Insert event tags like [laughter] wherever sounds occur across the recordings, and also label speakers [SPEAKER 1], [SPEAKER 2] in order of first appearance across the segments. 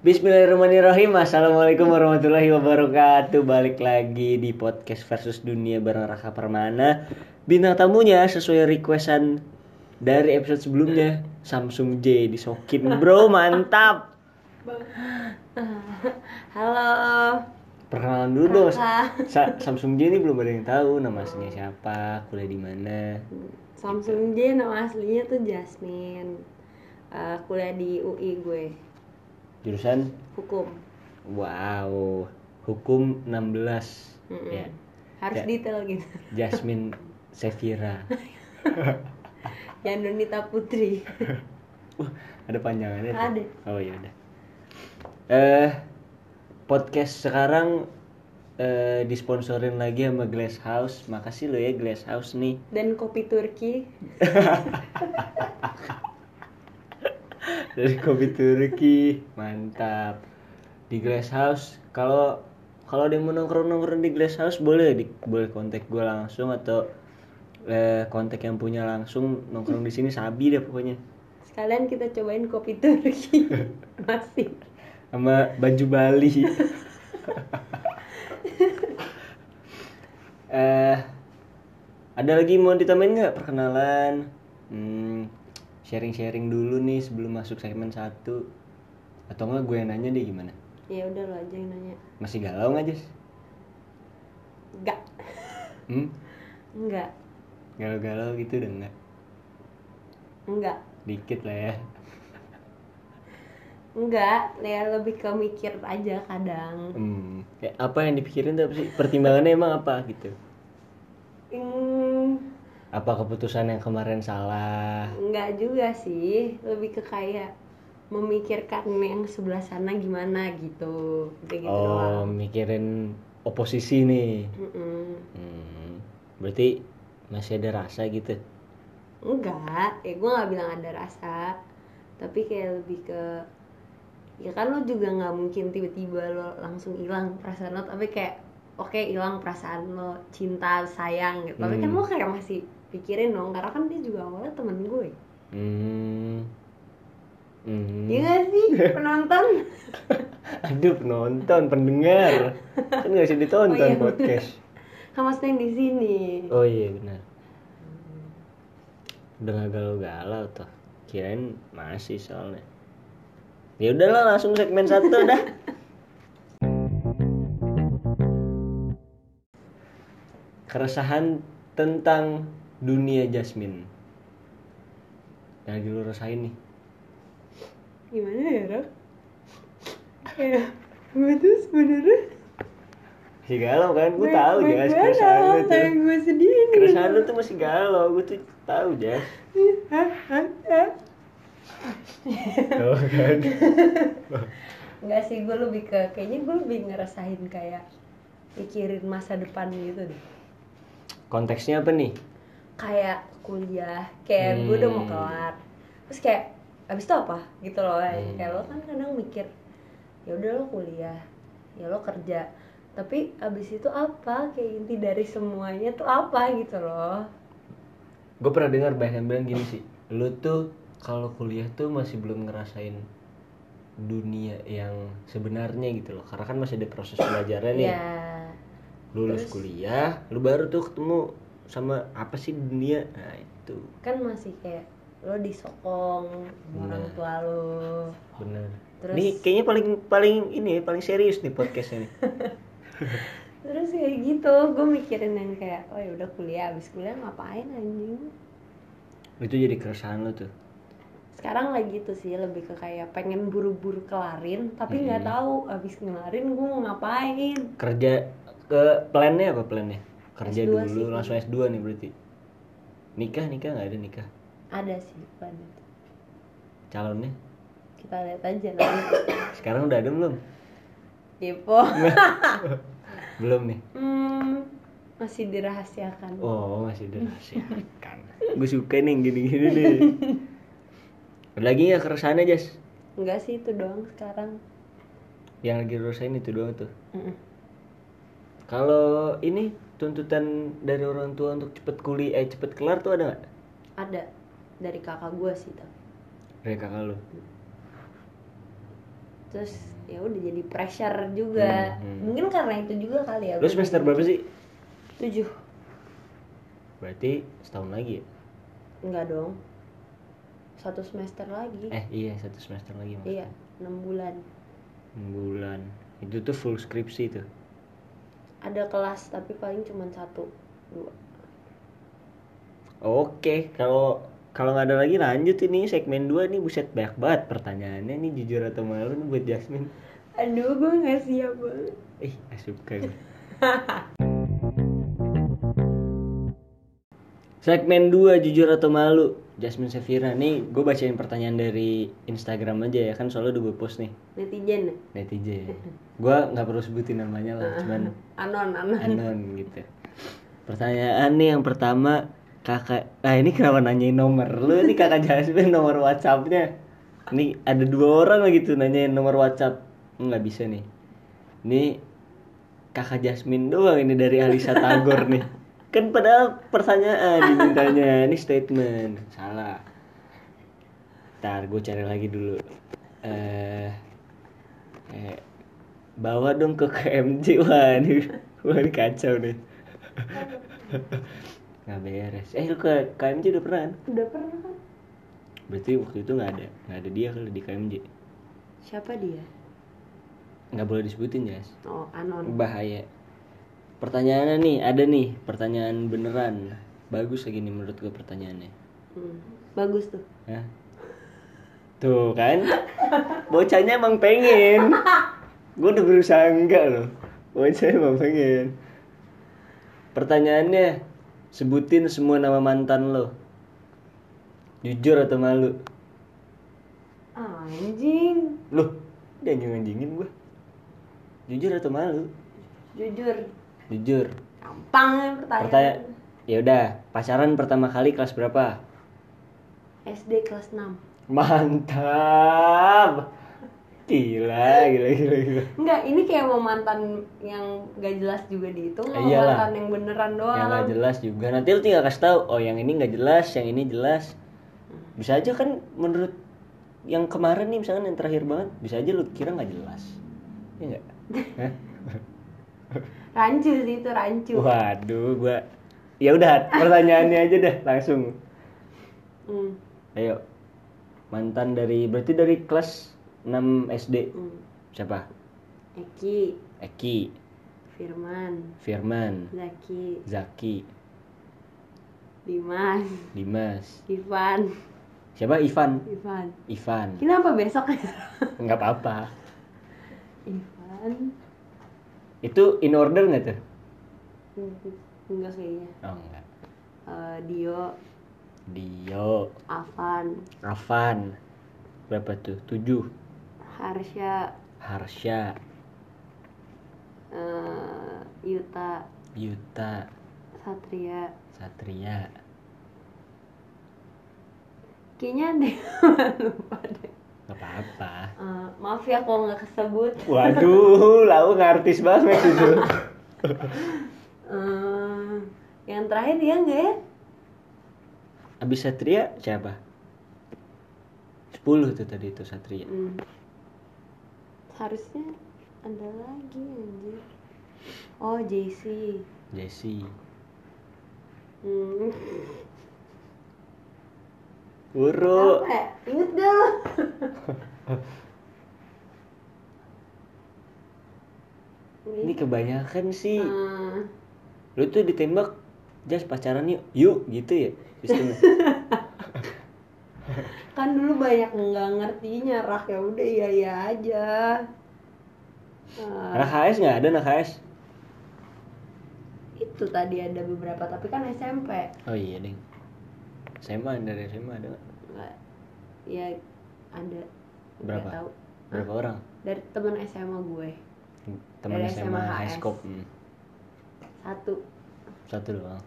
[SPEAKER 1] Bismillahirrahmanirrahim Assalamualaikum warahmatullahi wabarakatuh Balik lagi di podcast versus dunia bareng Raka Permana Bintang tamunya sesuai requestan dari episode sebelumnya Samsung J disokin bro mantap
[SPEAKER 2] Halo.
[SPEAKER 1] Perkenalan dulu dong
[SPEAKER 2] Raka.
[SPEAKER 1] Sa- Samsung J ini belum ada yang tahu nama aslinya siapa, kuliah di mana
[SPEAKER 2] Samsung J nama aslinya tuh Jasmine. Eh, kuliah di UI gue,
[SPEAKER 1] Jurusan
[SPEAKER 2] hukum.
[SPEAKER 1] wow hukum 16
[SPEAKER 2] Mm-mm.
[SPEAKER 1] ya Ya.
[SPEAKER 2] Harus detail gitu.
[SPEAKER 1] Jasmine Sevira
[SPEAKER 2] Yandonita Putri.
[SPEAKER 1] Wah, ada panjangannya. tuh.
[SPEAKER 2] Ada.
[SPEAKER 1] Oh ya udah. Eh podcast sekarang eh disponsorin lagi sama Glass House. Makasih lo ya Glass House nih.
[SPEAKER 2] Dan kopi Turki.
[SPEAKER 1] Dari kopi Turki. Mantap. Di Glass House kalau kalau ada yang mau nongkrong-nongkrong di Glass House boleh di, boleh kontak gue langsung atau eh, kontak yang punya langsung nongkrong di sini sabi deh pokoknya
[SPEAKER 2] Sekalian kita cobain kopi Turki. Masih.
[SPEAKER 1] sama baju [laughs] Bali. eh ada lagi mau ditambahin nggak perkenalan? Hmm, sharing-sharing dulu nih sebelum masuk segmen satu. Atau enggak gue yang nanya deh gimana?
[SPEAKER 2] Ya udah lo aja yang nanya.
[SPEAKER 1] Masih galau nggak Jess?
[SPEAKER 2] Enggak.
[SPEAKER 1] Hmm?
[SPEAKER 2] Enggak.
[SPEAKER 1] Galau-galau gitu udah nggak?
[SPEAKER 2] Enggak.
[SPEAKER 1] Dikit lah ya.
[SPEAKER 2] Enggak, ya lebih ke mikir aja kadang.
[SPEAKER 1] Hmm. Ya, apa yang dipikirin tuh apa sih? Pertimbangannya emang apa gitu?
[SPEAKER 2] Hmm,
[SPEAKER 1] Apa keputusan yang kemarin salah?
[SPEAKER 2] Enggak juga sih, lebih ke kayak memikirkan yang sebelah sana gimana gitu, kayak gitu
[SPEAKER 1] oh,
[SPEAKER 2] doang.
[SPEAKER 1] mikirin oposisi nih.
[SPEAKER 2] Mm-mm.
[SPEAKER 1] Hmm, berarti masih ada rasa gitu.
[SPEAKER 2] Enggak, ya gue nggak bilang ada rasa, tapi kayak lebih ke ya kan lo juga nggak mungkin tiba-tiba lo langsung hilang perasaan lo, tapi kayak oke hilang perasaan lo cinta sayang gitu, tapi kan
[SPEAKER 1] Hmm.
[SPEAKER 2] lo kayak masih pikirin dong, karena kan dia juga awalnya temen gue,
[SPEAKER 1] Hmm. Hmm.
[SPEAKER 2] Iya gak sih penonton?
[SPEAKER 1] Aduh, penonton, pendengar. kan nggak bisa ditonton
[SPEAKER 2] Oh, iya, bener.
[SPEAKER 1] podcast.
[SPEAKER 2] Kan maksudnya yang di sini.
[SPEAKER 1] Oh iya benar. Udah nggak galau-galau tuh. Kirain masih soalnya. Ya udahlah langsung segmen satu dah. Keresahan tentang dunia Jasmine. Yang lagi lu rasain nih.
[SPEAKER 2] gimana ya Rak? kayak gue tuh sebenernya
[SPEAKER 1] Masih galau kan? Gue tahu
[SPEAKER 2] baik-
[SPEAKER 1] Jas
[SPEAKER 2] baik
[SPEAKER 1] keresahan
[SPEAKER 2] banget,
[SPEAKER 1] lu tuh.
[SPEAKER 2] kayak gue sedih nih
[SPEAKER 1] Keresahan lu tuh masih galau. Gue tuh tahu Jas.
[SPEAKER 2] Hah, hah, hah.
[SPEAKER 1] Tahu kan?
[SPEAKER 2] nggak sih gue lebih ke kayaknya gue lebih ngerasain kayak mikirin masa depan gitu deh
[SPEAKER 1] Konteksnya apa nih?
[SPEAKER 2] kayak kuliah kayak gue udah mau
[SPEAKER 1] Hmm.
[SPEAKER 2] kelar terus kayak abis itu apa gitu loh
[SPEAKER 1] Hmm.
[SPEAKER 2] kayak lo kan kadang mikir ya udah lo kuliah ya lo kerja tapi abis itu apa kayak inti dari semuanya tuh apa gitu loh
[SPEAKER 1] gue pernah dengar banyak yang bilang gini sih lu tuh kalau kuliah tuh masih belum ngerasain dunia yang sebenarnya gitu loh karena kan masih ada proses belajarnya Nah, nih
[SPEAKER 2] Iya.
[SPEAKER 1] lulus
[SPEAKER 2] terus?
[SPEAKER 1] kuliah lu baru tuh ketemu sama apa sih dunia nah itu
[SPEAKER 2] kan masih kayak lo disokong sama orang
[SPEAKER 1] Nah.
[SPEAKER 2] tua lo
[SPEAKER 1] bener
[SPEAKER 2] Terus-
[SPEAKER 1] nih kayaknya paling paling ini ya, paling serius nih podcastnya nih
[SPEAKER 2] terus kayak gitu gue mikirin yang kayak oh ya udah kuliah abis kuliah ngapain anjing
[SPEAKER 1] itu jadi keresahan lu tuh
[SPEAKER 2] sekarang lagi itu sih lebih ke kayak pengen buru-buru kelarin tapi nggak
[SPEAKER 1] Mm-mm.
[SPEAKER 2] tahu abis ngelarin gue mau ngapain
[SPEAKER 1] kerja ke plannya apa plannya kerja
[SPEAKER 2] S2
[SPEAKER 1] dulu
[SPEAKER 2] sih.
[SPEAKER 1] langsung S2 nih berarti nikah nikah nggak ada nikah
[SPEAKER 2] ada sih plan itu
[SPEAKER 1] calonnya
[SPEAKER 2] kita lihat aja nanti
[SPEAKER 1] sekarang udah ada belum
[SPEAKER 2] Depo
[SPEAKER 1] belum nih
[SPEAKER 2] hmm, masih dirahasiakan
[SPEAKER 1] Oh masih [laughs] dirahasiakan Gue suka nih yang gini-gini nih Ada Lagi nggak keresahannya Jas?
[SPEAKER 2] enggak sih itu doang sekarang
[SPEAKER 1] Yang lagi lu rasain itu doang tuh
[SPEAKER 2] Mm-mm.
[SPEAKER 1] Kalau ini tuntutan dari orang tua untuk cepet kuliah eh cepet kelar tuh ada nggak?
[SPEAKER 2] ada dari kakak gue sih tapi
[SPEAKER 1] Dari kakak lu
[SPEAKER 2] terus ya udah jadi pressure juga
[SPEAKER 1] Hmm, hmm.
[SPEAKER 2] mungkin karena itu juga kali ya
[SPEAKER 1] Lu semester berapa sih?
[SPEAKER 2] tujuh
[SPEAKER 1] Berarti setahun lagi ya?
[SPEAKER 2] enggak dong satu semester lagi
[SPEAKER 1] Eh iya satu semester lagi mas.
[SPEAKER 2] iya enam bulan
[SPEAKER 1] Bulan. Itu tuh full skripsi tuh.
[SPEAKER 2] ada kelas tapi paling cuma satu dua
[SPEAKER 1] Oke, kalau kalau nggak ada lagi lanjut ini segmen 2 nih buset banyak banget pertanyaannya nih jujur atau malu nih buat Jasmine.
[SPEAKER 2] aduh gue nggak siap banget
[SPEAKER 1] Ih, asup gue. [laughs] Segmen 2 jujur atau malu. Jasmine Safira nih, gue bacain pertanyaan dari Instagram aja ya kan soalnya udah gue post nih
[SPEAKER 2] netizen ya?
[SPEAKER 1] netizen. Gue nggak perlu sebutin namanya lah, cuman
[SPEAKER 2] anon anon
[SPEAKER 1] anon gitu. Pertanyaan nih yang pertama kakak, nah ini kenapa nanyain nomor lu nih kakak Jasmine nomor WhatsAppnya? Ini ada dua orang lagi tuh nanyain nomor WhatsApp, nggak bisa nih. Ini kakak Jasmine doang ini dari Alisa Tagor nih. Kan padahal pertanyaan dimintanya, ini statement salah. Ntar gue cari lagi dulu. Eh, eh, bawa dong ke KMJ [laughs] wah ini, wah, ini kacau nih. nggak beres. Eh lu ke KMJ udah pernah kan?
[SPEAKER 2] udah pernah kan
[SPEAKER 1] Berarti waktu itu nggak ada, nggak ada dia kali di KMJ.
[SPEAKER 2] siapa dia
[SPEAKER 1] Nggak boleh disebutin Jas.
[SPEAKER 2] oh anon
[SPEAKER 1] Bahaya. Pertanyaannya nih, ada nih pertanyaan beneran. Bagus lagi nih menurut gue pertanyaannya.
[SPEAKER 2] Hmm, bagus tuh
[SPEAKER 1] Hah? Tuh kan, bocahnya emang pengen. Gue udah berusaha enggak loh. Bocahnya emang pengen. Pertanyaannya, sebutin semua nama mantan lo. Jujur atau malu?
[SPEAKER 2] anjing
[SPEAKER 1] Loh, dia anjing-anjingin gue. Jujur atau malu?
[SPEAKER 2] jujur
[SPEAKER 1] Jujur.
[SPEAKER 2] gampang ya pertanyaan
[SPEAKER 1] Pertanyaan, ya udah. Pacaran pertama kali kelas berapa?
[SPEAKER 2] SD kelas 6
[SPEAKER 1] Mantap. Gila, gila, gila, gila.
[SPEAKER 2] Enggak, ini kayak mau mantan yang gak jelas juga dihitung
[SPEAKER 1] Eh,
[SPEAKER 2] mau
[SPEAKER 1] iyalah.
[SPEAKER 2] mantan yang beneran doang
[SPEAKER 1] yang nggak jelas juga nanti lu tinggal kasih tahu oh yang ini nggak jelas yang ini jelas bisa aja kan menurut yang kemarin nih misalkan yang terakhir banget bisa aja lu kira nggak jelas ya nggak Hah?
[SPEAKER 2] Rancu sih itu, rancu
[SPEAKER 1] waduh gua ya udah pertanyaannya aja deh langsung
[SPEAKER 2] Hmm,
[SPEAKER 1] ayo mantan dari berarti dari kelas 6 SD
[SPEAKER 2] hmm.
[SPEAKER 1] siapa
[SPEAKER 2] Eki,
[SPEAKER 1] Eki
[SPEAKER 2] Firman,
[SPEAKER 1] Firman
[SPEAKER 2] Zaki,
[SPEAKER 1] Zaki
[SPEAKER 2] Dimas,
[SPEAKER 1] Dimas
[SPEAKER 2] [laughs] Ivan
[SPEAKER 1] siapa Ivan
[SPEAKER 2] Ivan
[SPEAKER 1] Ivan
[SPEAKER 2] Kenapa besok? [laughs]
[SPEAKER 1] nggak apa-apa
[SPEAKER 2] Ivan
[SPEAKER 1] itu in order nggak tuh
[SPEAKER 2] Enggak kayaknya
[SPEAKER 1] oh enggak
[SPEAKER 2] Eh, Dio,
[SPEAKER 1] Dio,
[SPEAKER 2] Avan,
[SPEAKER 1] Ravan, berapa tuh? 7
[SPEAKER 2] Harsha,
[SPEAKER 1] Harsha,
[SPEAKER 2] eh, Yuta,
[SPEAKER 1] Yuta,
[SPEAKER 2] Satria
[SPEAKER 1] Satria.
[SPEAKER 2] Kayaknya deh lupa deh
[SPEAKER 1] Gak apa-apa.
[SPEAKER 2] Eh, Maaf ya kalau nggak kesebut
[SPEAKER 1] Waduh, lau ngartis banget itu.
[SPEAKER 2] eh yang terakhir dia nggak ya?
[SPEAKER 1] Abis Satria siapa? 10 tuh tadi itu Satria.
[SPEAKER 2] Hmm. Harusnya ada lagi anjir. Oh, JC.
[SPEAKER 1] Jesse.
[SPEAKER 2] Hmm.
[SPEAKER 1] Uru. Oh.
[SPEAKER 2] Apa ya? Ingat gak lo?
[SPEAKER 1] [laughs] Ini
[SPEAKER 2] Gitu.
[SPEAKER 1] kebanyakan sih.
[SPEAKER 2] Eh,
[SPEAKER 1] Lu tuh ditembak jas pacaran yuk, yuk gitu ya [laughs] sistemnya.
[SPEAKER 2] kan dulu banyak nggak ngertinya rah ya udah iya iya aja Eh,
[SPEAKER 1] Anak HS nggak ada anak HS?
[SPEAKER 2] itu tadi ada beberapa tapi kan SMP
[SPEAKER 1] Oh iya ding. SMA dari SMA ada nggak?
[SPEAKER 2] nggak ya ada Nggak
[SPEAKER 1] Berapa?
[SPEAKER 2] tahu
[SPEAKER 1] berapa orang?
[SPEAKER 2] dari teman SMA gue
[SPEAKER 1] teman
[SPEAKER 2] Dari
[SPEAKER 1] SMA
[SPEAKER 2] SMA HS.
[SPEAKER 1] Highscope hmm.
[SPEAKER 2] satu
[SPEAKER 1] satu doang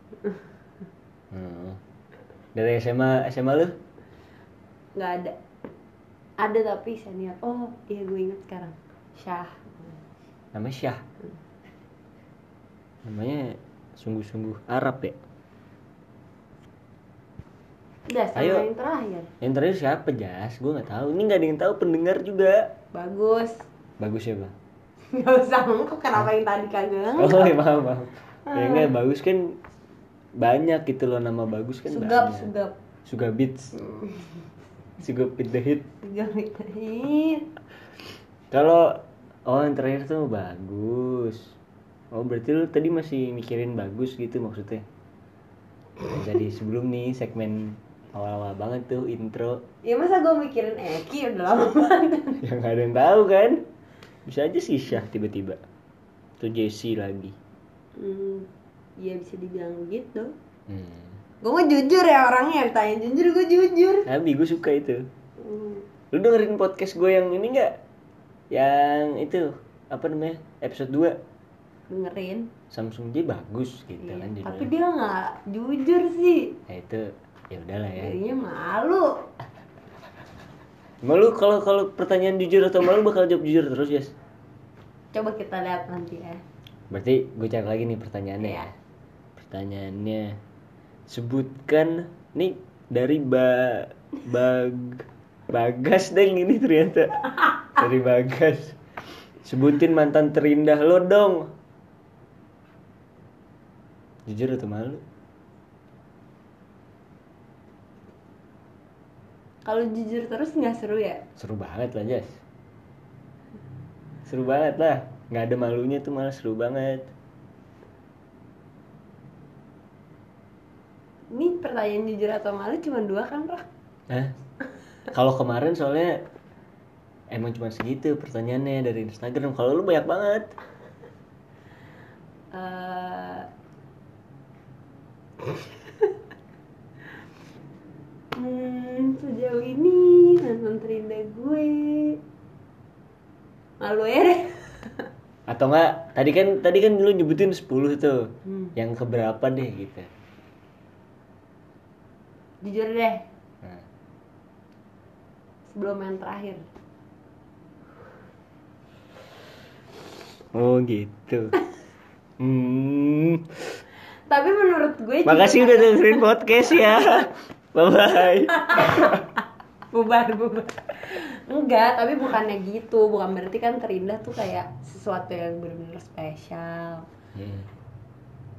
[SPEAKER 1] hmm. dari SMA SMA lu
[SPEAKER 2] nggak ada ada tapi senior oh iya gue inget sekarang Syah
[SPEAKER 1] namanya Syah namanya sungguh-sungguh Arab ya
[SPEAKER 2] udah sama
[SPEAKER 1] Ayo.
[SPEAKER 2] yang terakhir
[SPEAKER 1] Yang terakhir siapa Jas? Gue nggak tahu. Ini nggak ada yang tahu. Pendengar juga.
[SPEAKER 2] bagus [laughs]
[SPEAKER 1] Bagus ya bang.
[SPEAKER 2] nggak usah ngengkep kenapa yang tadi kagak
[SPEAKER 1] Oh iya paham paham. Ya enggak bagus kan banyak gitu loh nama bagus kan
[SPEAKER 2] sugap
[SPEAKER 1] banyak.
[SPEAKER 2] sugap
[SPEAKER 1] Suga beats. Suga beat the hit.
[SPEAKER 2] tiga menit [laughs]
[SPEAKER 1] Kalau oh yang terakhir tuh bagus. Oh berarti lu tadi masih mikirin bagus gitu maksudnya. Jadi sebelum nih segmen awal-awal banget tuh intro
[SPEAKER 2] [laughs] ya masa gue mikirin Eki udah lama banget
[SPEAKER 1] yang nggak ada yang tahu kan. Bisa aja sih Syah tiba-tiba. Tuh Jesse lagi.
[SPEAKER 2] hmm, ya bisa dibilang begitu
[SPEAKER 1] Hmm.
[SPEAKER 2] gue mau jujur ya orangnya tanya jujur gue jujur
[SPEAKER 1] Abi gue suka itu.
[SPEAKER 2] Hmm,
[SPEAKER 1] Lu dengerin podcast gue yang ini nggak? Yang itu apa namanya episode 2
[SPEAKER 2] dengerin
[SPEAKER 1] Samsung J bagus gitu
[SPEAKER 2] Iya,
[SPEAKER 1] kan judulnya.
[SPEAKER 2] tapi dia nggak jujur sih
[SPEAKER 1] Nah, itu ya udahlah ya.
[SPEAKER 2] jadinya malu
[SPEAKER 1] Malu kalau kalau pertanyaan jujur atau malu bakal jawab jujur terus Yes.
[SPEAKER 2] coba kita lihat nanti ya
[SPEAKER 1] Berarti gue cari lagi nih pertanyaannya
[SPEAKER 2] Iya.
[SPEAKER 1] ya. Pertanyaannya sebutkan nih dari ba bag bagas deng ini ternyata dari bagas. Sebutin mantan terindah lo dong. Jujur atau malu?
[SPEAKER 2] kalau jujur terus nggak seru ya
[SPEAKER 1] Seru banget lah Jas. Seru banget lah. Nggak ada malunya tuh malah seru banget.
[SPEAKER 2] ini pertanyaan jujur atau malu cuma dua kan Rak?
[SPEAKER 1] Hah? Eh? Kalau kemarin soalnya emang cuma segitu pertanyaannya dari Instagram. Kalau lu banyak banget.
[SPEAKER 2] Eh, [laughs] hmm, sejauh ini nonton terindah gue malu ya deh
[SPEAKER 1] Atau enggak? Tadi kan tadi kan lu nyebutin 10 tuh.
[SPEAKER 2] Hmm,
[SPEAKER 1] Yang keberapa deh gitu.
[SPEAKER 2] jujur deh
[SPEAKER 1] Nah,
[SPEAKER 2] sebelum yang terakhir
[SPEAKER 1] Oh gitu. Hmm.
[SPEAKER 2] tapi menurut gue juga-
[SPEAKER 1] Makasih udah dengerin podcast ya. [laughs] Bye bye.
[SPEAKER 2] bubar bubar enggak tapi bukannya gitu bukan berarti kan terindah tuh kayak sesuatu yang benar-benar spesial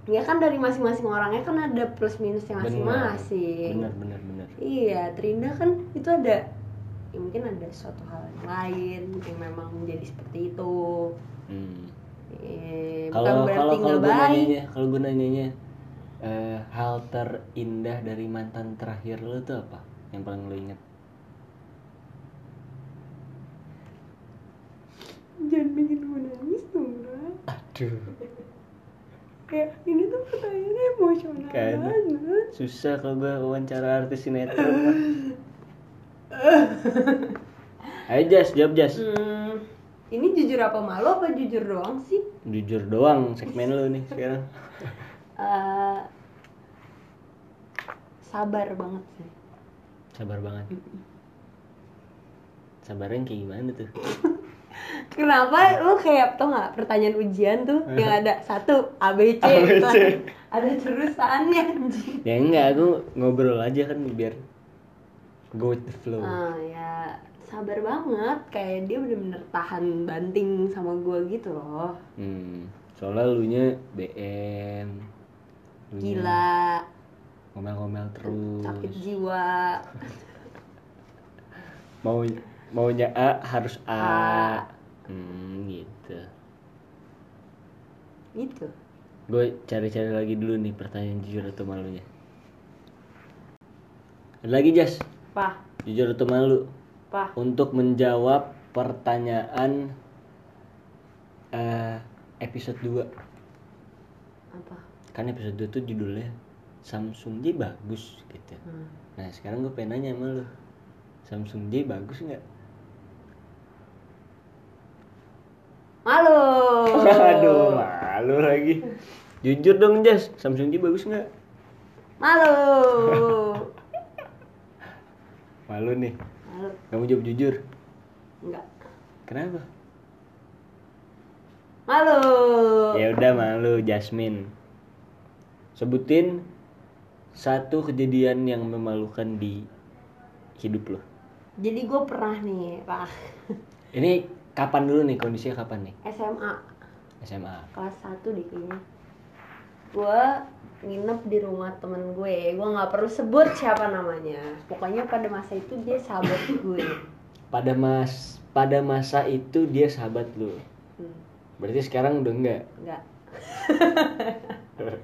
[SPEAKER 2] dia kan dari masing-masing orangnya kan ada plus minusnya
[SPEAKER 1] Benar
[SPEAKER 2] masing-masing
[SPEAKER 1] benar benar.
[SPEAKER 2] iya terindah kan itu ada ya mungkin ada suatu hal yang lain yang memang menjadi seperti itu
[SPEAKER 1] Hmm.
[SPEAKER 2] Eh, bukan
[SPEAKER 1] kalau kalau kalau
[SPEAKER 2] berarti nggak
[SPEAKER 1] gue
[SPEAKER 2] baik
[SPEAKER 1] nanyanya kalau gue nanyanya eh, hal terindah dari mantan terakhir lo tuh apa yang paling lo inget
[SPEAKER 2] jangan bikin gue nangis dong Ra.
[SPEAKER 1] aduh
[SPEAKER 2] kayak ini tuh pertanyaannya emosional
[SPEAKER 1] Kan.
[SPEAKER 2] banget
[SPEAKER 1] susah kalau gue wawancara artis
[SPEAKER 2] [laughs]
[SPEAKER 1] sinetron ayo jas jawab jas
[SPEAKER 2] hmm, ini jujur apa malu apa jujur doang sih
[SPEAKER 1] jujur doang segmen lo nih sekarang
[SPEAKER 2] Eh, sabar banget sih
[SPEAKER 1] sabar banget sabarnya kayak gimana tuh
[SPEAKER 2] Kenapa lu kayak tau nggak pertanyaan ujian tuh yang ada satu ABC,
[SPEAKER 1] ABC.
[SPEAKER 2] ada terusannya anjing.
[SPEAKER 1] ya enggak aku ngobrol aja kan biar go with the flow
[SPEAKER 2] Ah, ya sabar banget kayak dia bener-bener tahan banting sama gua gitu loh.
[SPEAKER 1] hmm. soalnya lu nya BM lunya-
[SPEAKER 2] Gila,
[SPEAKER 1] ngomel-ngomel terus
[SPEAKER 2] sakit jiwa.
[SPEAKER 1] mau maunya A harus A,
[SPEAKER 2] A.
[SPEAKER 1] Hmm, gitu
[SPEAKER 2] Gitu.
[SPEAKER 1] gue cari-cari lagi dulu nih pertanyaan jujur atau malunya ada lagi Jas
[SPEAKER 2] Pah,
[SPEAKER 1] jujur atau malu
[SPEAKER 2] pah.
[SPEAKER 1] untuk menjawab pertanyaan eh, episode 2
[SPEAKER 2] Apa?
[SPEAKER 1] kan episode 2 tuh judulnya Samsung J bagus gitu
[SPEAKER 2] Hmm.
[SPEAKER 1] nah sekarang gue pengen nanya sama lu Samsung J bagus nggak
[SPEAKER 2] Malu.
[SPEAKER 1] [laughs] Aduh, malu lagi. Jujur dong, Jas. Samsung J bagus nggak?
[SPEAKER 2] Malu.
[SPEAKER 1] Malu nih.
[SPEAKER 2] Malu.
[SPEAKER 1] Kamu jawab jujur.
[SPEAKER 2] Enggak.
[SPEAKER 1] Kenapa?
[SPEAKER 2] Malu.
[SPEAKER 1] Iya. Ya udah malu, Jasmine. Sebutin satu kejadian yang memalukan di hidup lo?
[SPEAKER 2] Jadi gue pernah nih, Pak.
[SPEAKER 1] Ini kapan dulu nih kondisinya kapan nih?
[SPEAKER 2] SMA
[SPEAKER 1] SMA.
[SPEAKER 2] kelas 1 deh kayaknya. Gue nginep di rumah temen gue. Gue nggak perlu sebut siapa namanya. Pokoknya pada masa itu dia sahabat gue.
[SPEAKER 1] Pada mas pada masa itu dia sahabat lo.
[SPEAKER 2] Hmm,
[SPEAKER 1] Berarti sekarang udah enggak. [laughs]
[SPEAKER 2] enggak.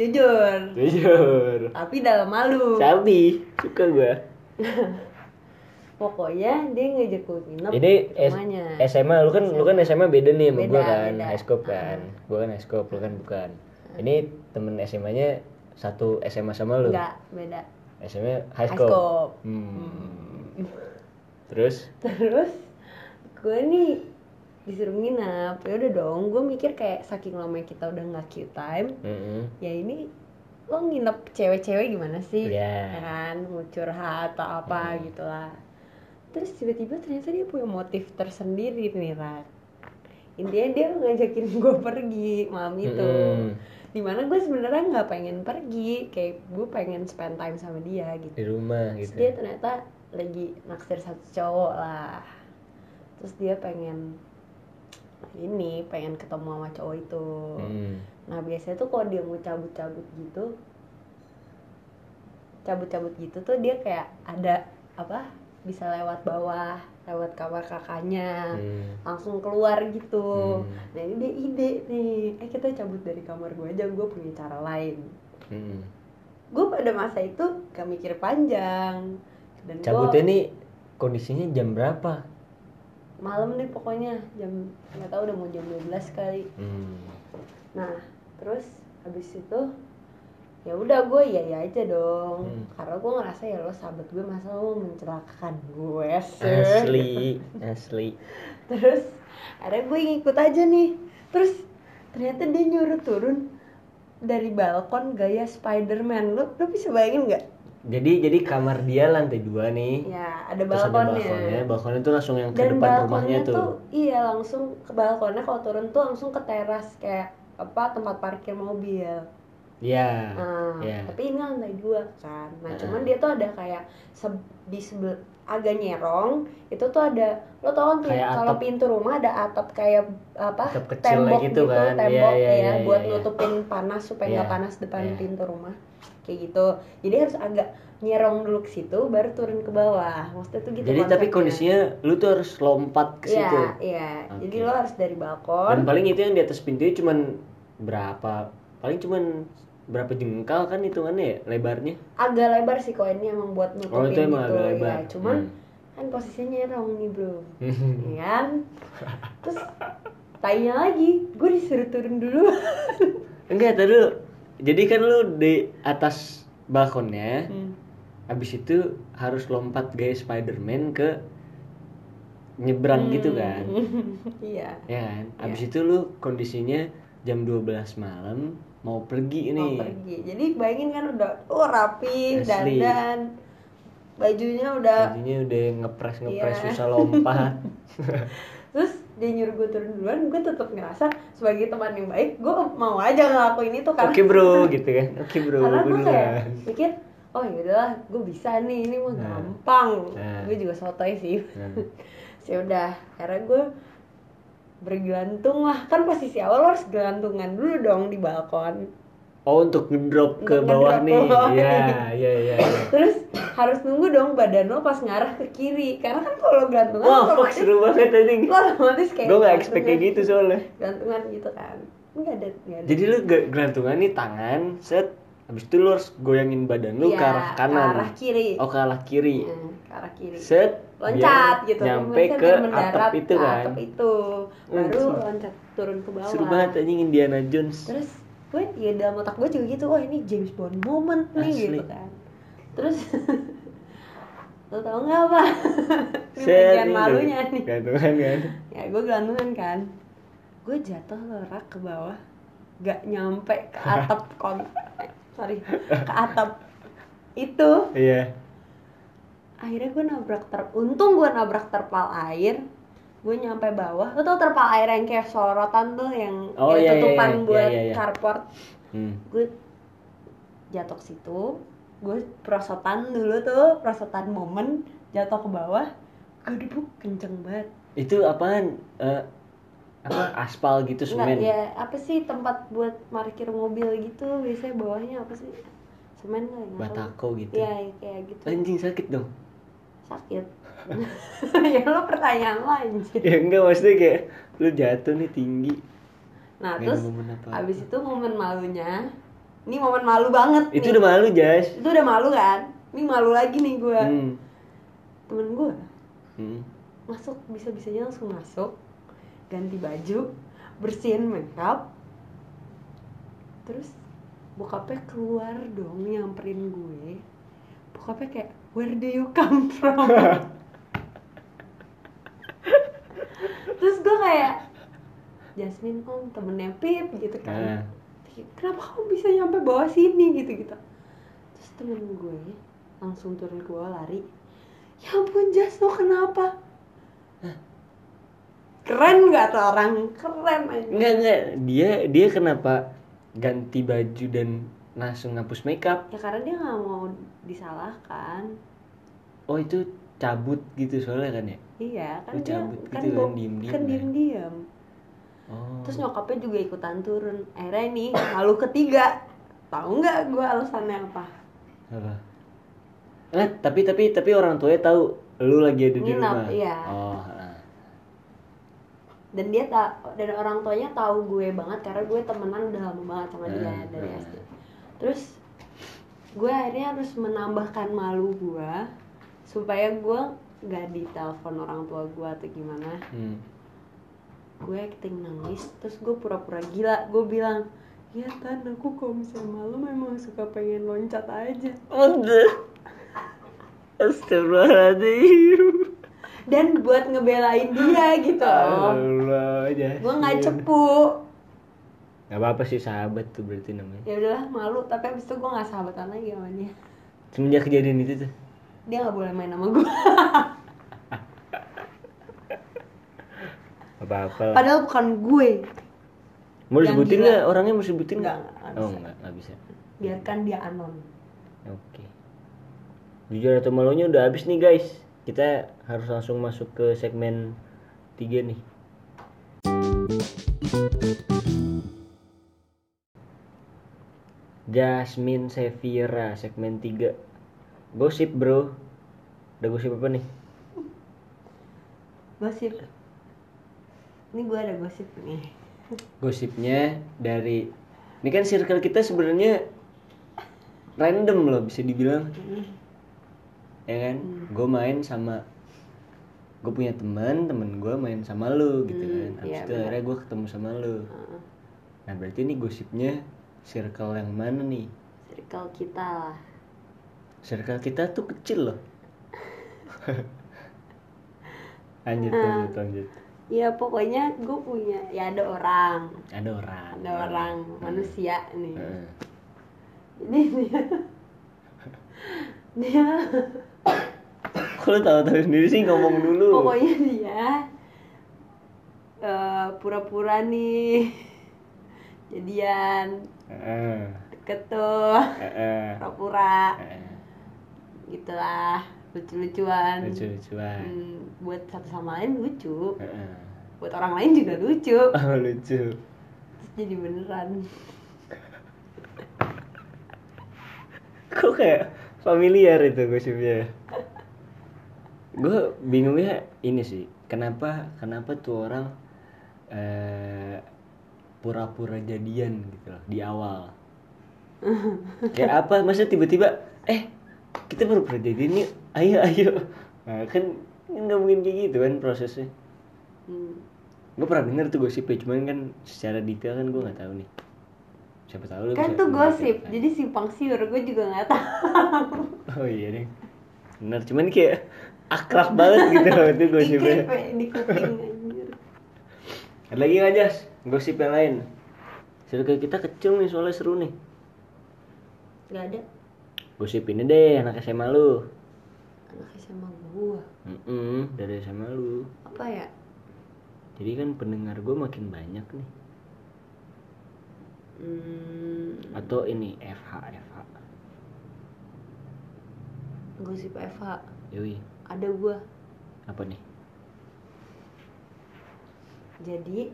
[SPEAKER 2] Jujur.
[SPEAKER 1] Jujur.
[SPEAKER 2] Tapi dalam malu.
[SPEAKER 1] Tapi suka gua.
[SPEAKER 2] Pokoknya dia ngejek gue nginep
[SPEAKER 1] Ini
[SPEAKER 2] di rumahnya.
[SPEAKER 1] S- SMA lu kan lu kan SMA beda nih sama
[SPEAKER 2] Beda,
[SPEAKER 1] gua kan,
[SPEAKER 2] beda. Ah.
[SPEAKER 1] Haiskop kan. Gua kan Haiskop, lu kan bukan. Ini temen SMA-nya satu SMA sama lu.
[SPEAKER 2] Enggak, beda.
[SPEAKER 1] SMA Haiskop.
[SPEAKER 2] Askop.
[SPEAKER 1] Hmm. Terus
[SPEAKER 2] terus gue nih disuruh nginap ya udah dong gue mikir kayak saking lama kita udah nggak cute time
[SPEAKER 1] Mm-mm.
[SPEAKER 2] ya ini lo nginep cewek-cewek gimana sih
[SPEAKER 1] Iya.
[SPEAKER 2] ya kan mau curhat atau apa
[SPEAKER 1] Hmm.
[SPEAKER 2] gitulah terus tiba-tiba ternyata dia punya motif tersendiri nih Rat intinya dia ngajakin [laughs] gue pergi malam itu
[SPEAKER 1] Mm-mm.
[SPEAKER 2] dimana gue sebenarnya nggak pengen pergi kayak gue pengen spend time sama dia gitu
[SPEAKER 1] di rumah
[SPEAKER 2] Terus
[SPEAKER 1] gitu.
[SPEAKER 2] dia ternyata lagi naksir satu cowok lah. Terus dia pengen ini pengen ketemu sama cowok itu.
[SPEAKER 1] Hmm.
[SPEAKER 2] Nah biasanya tuh kalau dia mau cabut-cabut gitu, cabut-cabut gitu tuh dia kayak ada apa? Bisa lewat bawah, lewat kamar kakaknya,
[SPEAKER 1] Hmm.
[SPEAKER 2] langsung keluar gitu.
[SPEAKER 1] Hmm.
[SPEAKER 2] Nah ini dia ide nih, eh kita cabut dari kamar gue aja, gue punya cara lain
[SPEAKER 1] Hmm.
[SPEAKER 2] gue pada masa itu gak mikir panjang dan
[SPEAKER 1] Cabutnya
[SPEAKER 2] gue
[SPEAKER 1] nih kondisinya jam berapa?
[SPEAKER 2] malam deh pokoknya jam nggak tahu udah mau jam 12 kali
[SPEAKER 1] Hmm.
[SPEAKER 2] nah terus habis itu ya udah gue iya iya aja dong
[SPEAKER 1] Hmm.
[SPEAKER 2] karena gue ngerasa ya lo sahabat gue masa lo mencelakakan gue sih
[SPEAKER 1] Asli, asli.
[SPEAKER 2] terus akhirnya gue ngikut aja nih terus ternyata dia nyuruh turun dari balkon gaya Spiderman lo lo bisa bayangin nggak
[SPEAKER 1] Jadi jadi kamar dia lantai dua nih.
[SPEAKER 2] ya
[SPEAKER 1] Terus
[SPEAKER 2] ada
[SPEAKER 1] ada
[SPEAKER 2] balkonnya,
[SPEAKER 1] balkonnya, balkonnya tuh langsung yang ke
[SPEAKER 2] dan
[SPEAKER 1] depan
[SPEAKER 2] balkonnya
[SPEAKER 1] rumahnya
[SPEAKER 2] tuh,
[SPEAKER 1] tuh.
[SPEAKER 2] iya langsung ke balkonnya kalau turun tuh langsung ke teras kayak apa tempat parkir mobil
[SPEAKER 1] Iya.
[SPEAKER 2] nah,
[SPEAKER 1] iya.
[SPEAKER 2] tapi ini lantai dua kan nah
[SPEAKER 1] Ah.
[SPEAKER 2] cuman dia tuh ada kayak se- di sebel agak nyerong itu tuh ada lo tau kan
[SPEAKER 1] Kayak
[SPEAKER 2] pin- kalau
[SPEAKER 1] atap.
[SPEAKER 2] pintu rumah ada atap kayak apa
[SPEAKER 1] Atap kecil
[SPEAKER 2] tembok
[SPEAKER 1] gitu kan. Iya,
[SPEAKER 2] tembok
[SPEAKER 1] iya,
[SPEAKER 2] ya
[SPEAKER 1] iya,
[SPEAKER 2] buat
[SPEAKER 1] iya.
[SPEAKER 2] nutupin panas supaya nggak
[SPEAKER 1] Iya,
[SPEAKER 2] panas depan
[SPEAKER 1] iya.
[SPEAKER 2] pintu rumah kayak gitu jadi harus agak nyerong dulu ke situ baru turun ke bawah maksudnya tuh gitu
[SPEAKER 1] Jadi tapi
[SPEAKER 2] konsepnya.
[SPEAKER 1] kondisinya lu tuh harus lompat ke
[SPEAKER 2] Iya,
[SPEAKER 1] situ.
[SPEAKER 2] iya. Jadi
[SPEAKER 1] Oke.
[SPEAKER 2] lo harus dari
[SPEAKER 1] Dan
[SPEAKER 2] balkon.
[SPEAKER 1] paling itu yang di atas pintunya cuman berapa? Paling cuman berapa jengkal kan hitungannya ya lebarnya?
[SPEAKER 2] Agak lebar sih kalau ini emang buat nutupin
[SPEAKER 1] Oh itu emang
[SPEAKER 2] gitu.
[SPEAKER 1] agak lebar.
[SPEAKER 2] Ya, cuman kan posisinya nyerong nih, Bro.
[SPEAKER 1] Hmm. [laughs]
[SPEAKER 2] Ya kan? Terus tanya lagi, gue disuruh turun dulu.
[SPEAKER 1] Enggak, tadi dulu. Jadi kan lu di atas balkonnya, habis itu harus lompat gaya Spiderman ke nyebrang gitu
[SPEAKER 2] Hmm,
[SPEAKER 1] kan.
[SPEAKER 2] Iya.
[SPEAKER 1] Ya kan? Habis itu lu kondisinya jam 12 malam mau pergi
[SPEAKER 2] Mau
[SPEAKER 1] nih.
[SPEAKER 2] pergi. Jadi bayangin kan udah oh rapi,
[SPEAKER 1] Asli.
[SPEAKER 2] dandan. Bajunya udah
[SPEAKER 1] Jadinya udah ngepres-ngepres
[SPEAKER 2] Iya.
[SPEAKER 1] susah lompat.
[SPEAKER 2] terus dia nyuruh gue turun duluan gue tetap ngerasa sebagai teman yang baik gue mau aja ngelakuin itu [laughs] karena
[SPEAKER 1] Oke, Bro, gitu kan. Oke, Bro.
[SPEAKER 2] karena gue kayak
[SPEAKER 1] beneran.
[SPEAKER 2] mikir oh yaudahlah gue bisa nih ini mah
[SPEAKER 1] Nah.
[SPEAKER 2] gampang
[SPEAKER 1] Nah.
[SPEAKER 2] gue juga sotoy sih
[SPEAKER 1] Nah,
[SPEAKER 2] sih udah akhirnya gue bergelantung lah kan posisi awal lo harus gelantungan dulu dong di balkon
[SPEAKER 1] Oh, untuk ngedrop ke
[SPEAKER 2] Untuk
[SPEAKER 1] bawah
[SPEAKER 2] ngedrop ke
[SPEAKER 1] nih.
[SPEAKER 2] bawah
[SPEAKER 1] Iya,
[SPEAKER 2] nih.
[SPEAKER 1] iya,
[SPEAKER 2] [laughs]
[SPEAKER 1] iya. iya.
[SPEAKER 2] terus harus nunggu dong badan lo pas ngarah ke kiri karena kan kalau lo gelantungan
[SPEAKER 1] Wah,
[SPEAKER 2] lo
[SPEAKER 1] fuck
[SPEAKER 2] otomatis
[SPEAKER 1] seru banget anjing.
[SPEAKER 2] lo otomatis kayak
[SPEAKER 1] Gue gak expect kayak
[SPEAKER 2] gelantungan-
[SPEAKER 1] gitu soalnya.
[SPEAKER 2] gelantungan gitu kan nggak ada nggak ada
[SPEAKER 1] Jadi lu ge- gelantungan nih tangan, set. Habis itu lu harus goyangin badan lu
[SPEAKER 2] Iya,
[SPEAKER 1] ke arah kanan.
[SPEAKER 2] ke arah kiri
[SPEAKER 1] Oh, ke arah kiri.
[SPEAKER 2] Hmm, ke arah kiri
[SPEAKER 1] Set.
[SPEAKER 2] loncat
[SPEAKER 1] biar
[SPEAKER 2] gitu
[SPEAKER 1] Nyampe
[SPEAKER 2] Loncat
[SPEAKER 1] ke
[SPEAKER 2] biar mendarat
[SPEAKER 1] atap itu
[SPEAKER 2] ke
[SPEAKER 1] kan.
[SPEAKER 2] atap itu baru
[SPEAKER 1] Hmm.
[SPEAKER 2] loncat turun ke bawah
[SPEAKER 1] Seru banget anjing Indiana Jones.
[SPEAKER 2] terus gue ya dalam otak gue juga gitu wah ini James Bond moment nih
[SPEAKER 1] Asli.
[SPEAKER 2] gitu kan terus [laughs] lo tau nggak apa ini
[SPEAKER 1] Set,
[SPEAKER 2] bagian
[SPEAKER 1] ini
[SPEAKER 2] malunya nih
[SPEAKER 1] Gantungan kan.
[SPEAKER 2] ya gue gelantungan kan gue jatuh lorak ke bawah gak nyampe ke
[SPEAKER 1] [laughs]
[SPEAKER 2] atap kon eh, sorry ke atap itu
[SPEAKER 1] Iya.
[SPEAKER 2] akhirnya gue nabrak ter untung gue nabrak terpal air gue nyampe bawah lo tau terpal air yang kayak sorotan tuh yang
[SPEAKER 1] Oh,
[SPEAKER 2] yang
[SPEAKER 1] iya, iya,
[SPEAKER 2] tutupan
[SPEAKER 1] iya. Iya,
[SPEAKER 2] buat
[SPEAKER 1] iya, iya.
[SPEAKER 2] carport
[SPEAKER 1] Hmm.
[SPEAKER 2] gue jatuh ke situ gue prosotan dulu tuh prosotan momen jatuh ke bawah gue debu kenceng banget
[SPEAKER 1] Itu apaan? Eh, apa aspal gitu semen.
[SPEAKER 2] Enggak, ya apa sih tempat buat parkir mobil gitu biasanya bawahnya apa sih semen kali nggak tahu.
[SPEAKER 1] Batako gitu.
[SPEAKER 2] Iya, kayak gitu
[SPEAKER 1] Anjing sakit dong.
[SPEAKER 2] sakit [laughs] ya lo pertanyaan Nah, lanjut
[SPEAKER 1] [laughs] Ya enggak maksudnya kayak lu jatuh nih tinggi.
[SPEAKER 2] nah
[SPEAKER 1] Nggak
[SPEAKER 2] terus
[SPEAKER 1] ada momen apa.
[SPEAKER 2] abis itu momen malunya ini momen malu banget
[SPEAKER 1] Itu
[SPEAKER 2] nih.
[SPEAKER 1] udah malu, Jas.
[SPEAKER 2] itu udah malu kan ini malu lagi nih gue
[SPEAKER 1] Hmm.
[SPEAKER 2] temen gue
[SPEAKER 1] Hmm.
[SPEAKER 2] masuk bisa bisanya langsung masuk ganti baju bersihin makeup terus bokapnya keluar dong nyamperin gue bokapnya kayak where do you come from terus gue kayak Jasmine om temennya Pip gitu
[SPEAKER 1] Nah,
[SPEAKER 2] kan kenapa kamu bisa nyampe bawah sini gitu gitu terus temen gue langsung turun ke bawah lari ya ampun Jas lo kenapa keren nggak tuh orang keren aja
[SPEAKER 1] enggak enggak dia dia kenapa ganti baju dan langsung ngapus makeup?
[SPEAKER 2] ya karena dia nggak mau disalahkan
[SPEAKER 1] Oh, itu cabut gitu soalnya kan ya.
[SPEAKER 2] iya kan
[SPEAKER 1] Oh,
[SPEAKER 2] dia
[SPEAKER 1] cabut
[SPEAKER 2] kan
[SPEAKER 1] gitu kan,
[SPEAKER 2] bo-
[SPEAKER 1] diem-diem
[SPEAKER 2] kan
[SPEAKER 1] ya.
[SPEAKER 2] diem diem
[SPEAKER 1] Oh.
[SPEAKER 2] terus nyokapnya juga ikutan turun akhirnya [clears throat] nih malu ketiga tahu nggak gue alasannya apa
[SPEAKER 1] apa? Eh, tapi tapi tapi orang tuanya tahu lu lagi ada di
[SPEAKER 2] Nginep,
[SPEAKER 1] rumah.
[SPEAKER 2] iya.
[SPEAKER 1] Oh, ah.
[SPEAKER 2] dan dia tak dan orang tuanya tahu gue banget karena gue temenan udah lama banget sama dia
[SPEAKER 1] Hmm,
[SPEAKER 2] dari
[SPEAKER 1] hmm.
[SPEAKER 2] SD terus gue akhirnya harus menambahkan malu gue supaya gue gak ditelepon orang tua gue atau gimana
[SPEAKER 1] Hmm.
[SPEAKER 2] gue acting nangis terus gue pura-pura gila gue bilang ya tan aku kalau misalnya malu memang suka pengen loncat aja
[SPEAKER 1] Astagfirullahaladzim.
[SPEAKER 2] dan buat ngebelain dia gitu
[SPEAKER 1] Allah, Jasmine.
[SPEAKER 2] gue nggak cepu
[SPEAKER 1] Gak apa-apa sih sahabat tuh berarti namanya.
[SPEAKER 2] ya udahlah malu tapi abis itu gue nggak sahabatan lagi sama dia
[SPEAKER 1] Semenjak kejadian itu tuh.
[SPEAKER 2] dia nggak boleh main sama gue
[SPEAKER 1] Apa-apa. lah.
[SPEAKER 2] padahal bukan gue
[SPEAKER 1] Mau
[SPEAKER 2] yang
[SPEAKER 1] disebutin
[SPEAKER 2] gila.
[SPEAKER 1] nggak orangnya mau disebutin
[SPEAKER 2] Nggak,
[SPEAKER 1] nggak?
[SPEAKER 2] nggak
[SPEAKER 1] Oh
[SPEAKER 2] bisa.
[SPEAKER 1] nggak nggak bisa.
[SPEAKER 2] biarkan dia anon
[SPEAKER 1] Oke. Jujur atau malunya udah habis nih guys. Kita harus langsung masuk ke segmen 3 nih. Jasmine Sevira segmen 3 Gosip bro Udah gosip apa nih?
[SPEAKER 2] gosip ini gue ada gosip nih
[SPEAKER 1] Gosipnya dari Ini kan circle kita sebenarnya Random loh bisa dibilang ya kan
[SPEAKER 2] Mm.
[SPEAKER 1] gue main sama gue punya teman temen gue main sama lu gitu
[SPEAKER 2] Hmm,
[SPEAKER 1] kan abis
[SPEAKER 2] iya,
[SPEAKER 1] itu
[SPEAKER 2] benar.
[SPEAKER 1] akhirnya gue ketemu sama lu
[SPEAKER 2] Heeh.
[SPEAKER 1] nah berarti ini gosipnya circle yang mana nih
[SPEAKER 2] circle kita lah
[SPEAKER 1] circle kita tuh kecil loh
[SPEAKER 2] [laughs]
[SPEAKER 1] lanjut lanjut lanjut
[SPEAKER 2] ya pokoknya gue punya ya ada orang
[SPEAKER 1] ada orang Nah.
[SPEAKER 2] ada orang
[SPEAKER 1] Hmm.
[SPEAKER 2] manusia nih
[SPEAKER 1] Heeh.
[SPEAKER 2] ini dia dia
[SPEAKER 1] Kok lu tahu-tahu sendiri sih ngomong dulu
[SPEAKER 2] pokoknya dia eh, pura-pura nih jadian
[SPEAKER 1] Heeh,
[SPEAKER 2] deket tuh
[SPEAKER 1] heeh,
[SPEAKER 2] pura-pura
[SPEAKER 1] heeh.
[SPEAKER 2] gitulah lucu-lucuan
[SPEAKER 1] Kan. lucu-lucuan
[SPEAKER 2] Hmm, buat satu sama lain lucu
[SPEAKER 1] Heeh.
[SPEAKER 2] buat orang lain juga lucu
[SPEAKER 1] oh lucu
[SPEAKER 2] terus jadi beneran
[SPEAKER 1] kok kayak familiar itu gosipnya gue bingungnya ini sih kenapa kenapa tuh orang eh, pura-pura jadian gitu loh di [laughs] awal kayak apa masa tiba-tiba eh kita pura-pura jadian yuk ayo ayo nah, kan nggak mungkin kayak gitu kan prosesnya
[SPEAKER 2] Hmm,
[SPEAKER 1] gue pernah denger tuh gosipnya cuman kan secara detail kan gue nggak tahu nih siapa tahu lu
[SPEAKER 2] kan
[SPEAKER 1] bisa
[SPEAKER 2] tuh gosip
[SPEAKER 1] mendetailkan.
[SPEAKER 2] jadi simpang siur gue juga nggak
[SPEAKER 1] [laughs]
[SPEAKER 2] tahu
[SPEAKER 1] Oh iya deh. Bener, cuman kayak akrab banget gitu loh itu gosipnya.
[SPEAKER 2] Dikit, Pak, di kuping anjir
[SPEAKER 1] Ada lagi nggak Jas? Gosip yang lain. Circle kita kecil nih soalnya seru nih.
[SPEAKER 2] nggak ada
[SPEAKER 1] Gosip ini deh anak SMA lu.
[SPEAKER 2] anak SMA gua
[SPEAKER 1] Mm-mm, dari SMA lu.
[SPEAKER 2] apa ya
[SPEAKER 1] Jadi kan pendengar gue makin banyak nih.
[SPEAKER 2] hmm,
[SPEAKER 1] Atau ini FH FH.
[SPEAKER 2] gosip FH
[SPEAKER 1] Yoi,
[SPEAKER 2] ada gua
[SPEAKER 1] apa nih?
[SPEAKER 2] jadi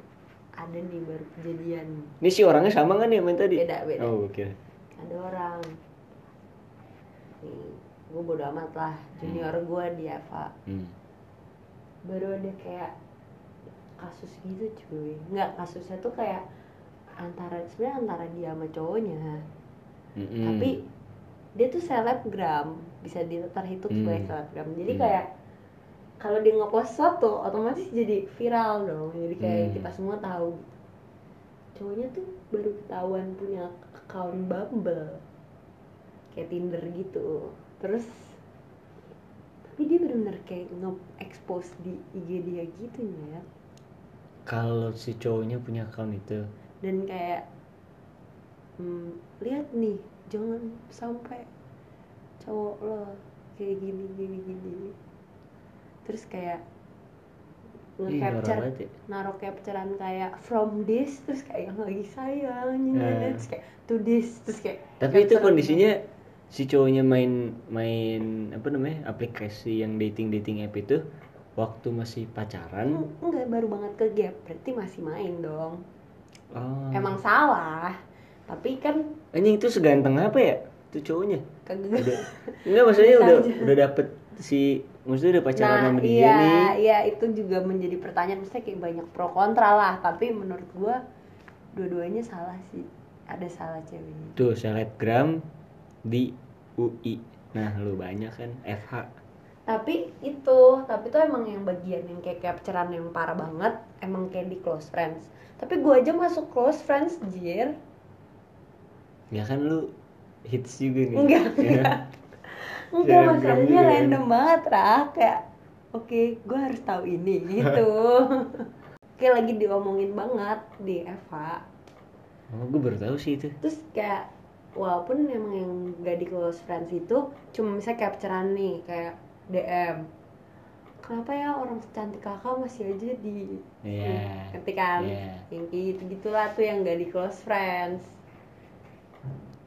[SPEAKER 2] ada nih baru kejadian
[SPEAKER 1] Ini si orangnya sama kan ya main tadi?
[SPEAKER 2] beda beda
[SPEAKER 1] Oh, oke.
[SPEAKER 2] ada orang nih gue bodo amat lah junior gue di Eva
[SPEAKER 1] Hmm.
[SPEAKER 2] baru ada kayak kasus gitu cuy nggak kasusnya tuh kayak antara sebenarnya antara dia sama cowoknya
[SPEAKER 1] Mm-mm.
[SPEAKER 2] tapi dia tuh selebgram bisa di- terhitung
[SPEAKER 1] Hmm.
[SPEAKER 2] sebagai selebgram jadi
[SPEAKER 1] Hmm.
[SPEAKER 2] kayak kalau dia ngepost sesuatu otomatis jadi viral dong jadi kayak
[SPEAKER 1] Hmm.
[SPEAKER 2] kita semua tahu cowoknya tuh baru ketahuan punya account Bumble kayak Tinder gitu terus tapi dia bener-bener kayak nge-expose di IG dia gitu ya
[SPEAKER 1] kalau si cowoknya punya account itu,
[SPEAKER 2] dan kayak hmm, lihat nih jangan sampai cowok lo kayak gini gini gini terus kayak
[SPEAKER 1] ih norak
[SPEAKER 2] nge-capture
[SPEAKER 1] banget ya.
[SPEAKER 2] naruh capturean kayak from this terus kayak yang lagi sayang ini,
[SPEAKER 1] Eh.
[SPEAKER 2] ini, terus kayak to this terus kayak
[SPEAKER 1] Tapi itu
[SPEAKER 2] capture-
[SPEAKER 1] kondisinya si cowoknya main main apa namanya aplikasi yang dating dating app itu waktu masih pacaran.
[SPEAKER 2] Eng- enggak baru banget ke gap berarti masih main dong
[SPEAKER 1] Oh.
[SPEAKER 2] emang salah tapi kan
[SPEAKER 1] Anjing itu seganteng apa ya? Itu cowoknya.
[SPEAKER 2] kagak [laughs]
[SPEAKER 1] Enggak maksudnya
[SPEAKER 2] Bisa
[SPEAKER 1] udah
[SPEAKER 2] aja.
[SPEAKER 1] udah dapet si maksudnya udah pacaran
[SPEAKER 2] nah
[SPEAKER 1] sama dia
[SPEAKER 2] iya
[SPEAKER 1] nih.
[SPEAKER 2] iya itu juga menjadi pertanyaan maksudnya kayak banyak pro kontra lah tapi menurut gua dua-duanya salah sih ada salah ceweknya
[SPEAKER 1] Tuh selebgram di UI. Nah, lu banyak kan FH.
[SPEAKER 2] tapi itu tapi tuh emang yang bagian yang kayak capturean yang parah banget emang kayak di close friends tapi gua aja masuk close friends jir
[SPEAKER 1] Ya kan lu hits juga nih.
[SPEAKER 2] Enggak,
[SPEAKER 1] Ya.
[SPEAKER 2] enggak
[SPEAKER 1] Selebgram
[SPEAKER 2] masalahnya
[SPEAKER 1] juga.
[SPEAKER 2] random banget Ra. kayak oke gua harus tahu ini gitu kayak lagi diomongin banget di Eva
[SPEAKER 1] Oh, gue baru tahu sih itu.
[SPEAKER 2] terus kayak walaupun emang yang gak di close friends itu cuma misalnya capturean nih kayak DM kenapa ya orang secantik kakak masih aja di
[SPEAKER 1] Iya.
[SPEAKER 2] ngerti kan
[SPEAKER 1] Iya.
[SPEAKER 2] yang kayak gitu gitulah tuh yang gak di close friends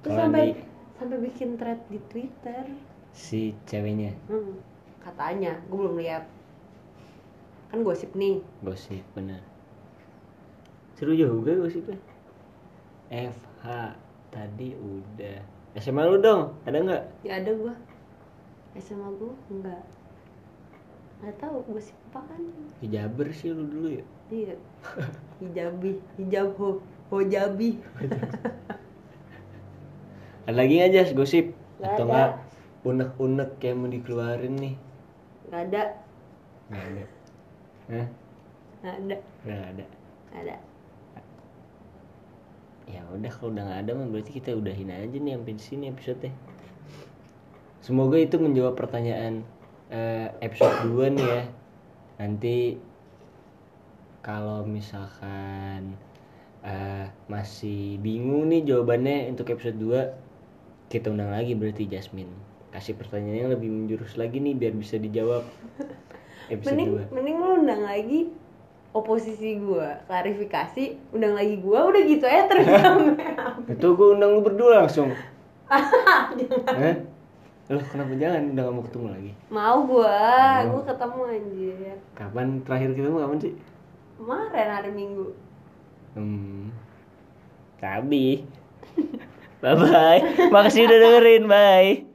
[SPEAKER 2] terus
[SPEAKER 1] Kalau
[SPEAKER 2] sampai
[SPEAKER 1] di-
[SPEAKER 2] sampai bikin thread di Twitter
[SPEAKER 1] Si ceweknya
[SPEAKER 2] Hmm, katanya gue belum lihat kan gosip nih
[SPEAKER 1] gosip bener. Seru juga ya gosipnya. FH tadi udah. SMA lu dong, ada nggak?
[SPEAKER 2] ya ada gua SMA gue enggak nggak tahu gosip apa kan
[SPEAKER 1] Hijaber sih lu dulu ya.
[SPEAKER 2] Iya. Hijabi, hijab ho, hojabi.
[SPEAKER 1] Ada lagi nggak Jas gosip?
[SPEAKER 2] Nggak
[SPEAKER 1] Atau
[SPEAKER 2] ada.
[SPEAKER 1] nggak unek-unek kayak mau dikeluarin nih?
[SPEAKER 2] Nggak ada,
[SPEAKER 1] Nggak ada. Hah?
[SPEAKER 2] nggak ada,
[SPEAKER 1] Nggak ada.
[SPEAKER 2] nggak ada.
[SPEAKER 1] Ya udah kalau udah nggak ada mah berarti kita udahin aja nih sampai di sini episode-nya. Semoga itu menjawab pertanyaan eh, episode 2 nih ya. Nanti kalau misalkan eh, masih bingung nih jawabannya untuk episode 2 kita undang lagi berarti Jasmine. Kasih pertanyaan yang lebih menjurus lagi nih biar bisa dijawab episode
[SPEAKER 2] Mending,
[SPEAKER 1] 2.
[SPEAKER 2] mending lu undang lagi oposisi gua, klarifikasi, undang lagi gua, udah gitu aja
[SPEAKER 1] [laughs]
[SPEAKER 2] terus sampai habis.
[SPEAKER 1] Itu gue undang lu berdua langsung. Hah? Loh, kenapa jangan? Udah gak mau ketemu lagi.
[SPEAKER 2] Mau gua,
[SPEAKER 1] Mau.
[SPEAKER 2] gua ketemu anjir.
[SPEAKER 1] Kapan terakhir ketemu kapan sih?
[SPEAKER 2] Kemarin hari Minggu.
[SPEAKER 1] Hmm. Tadi. Bye bye. Makasih udah dengerin. Bye.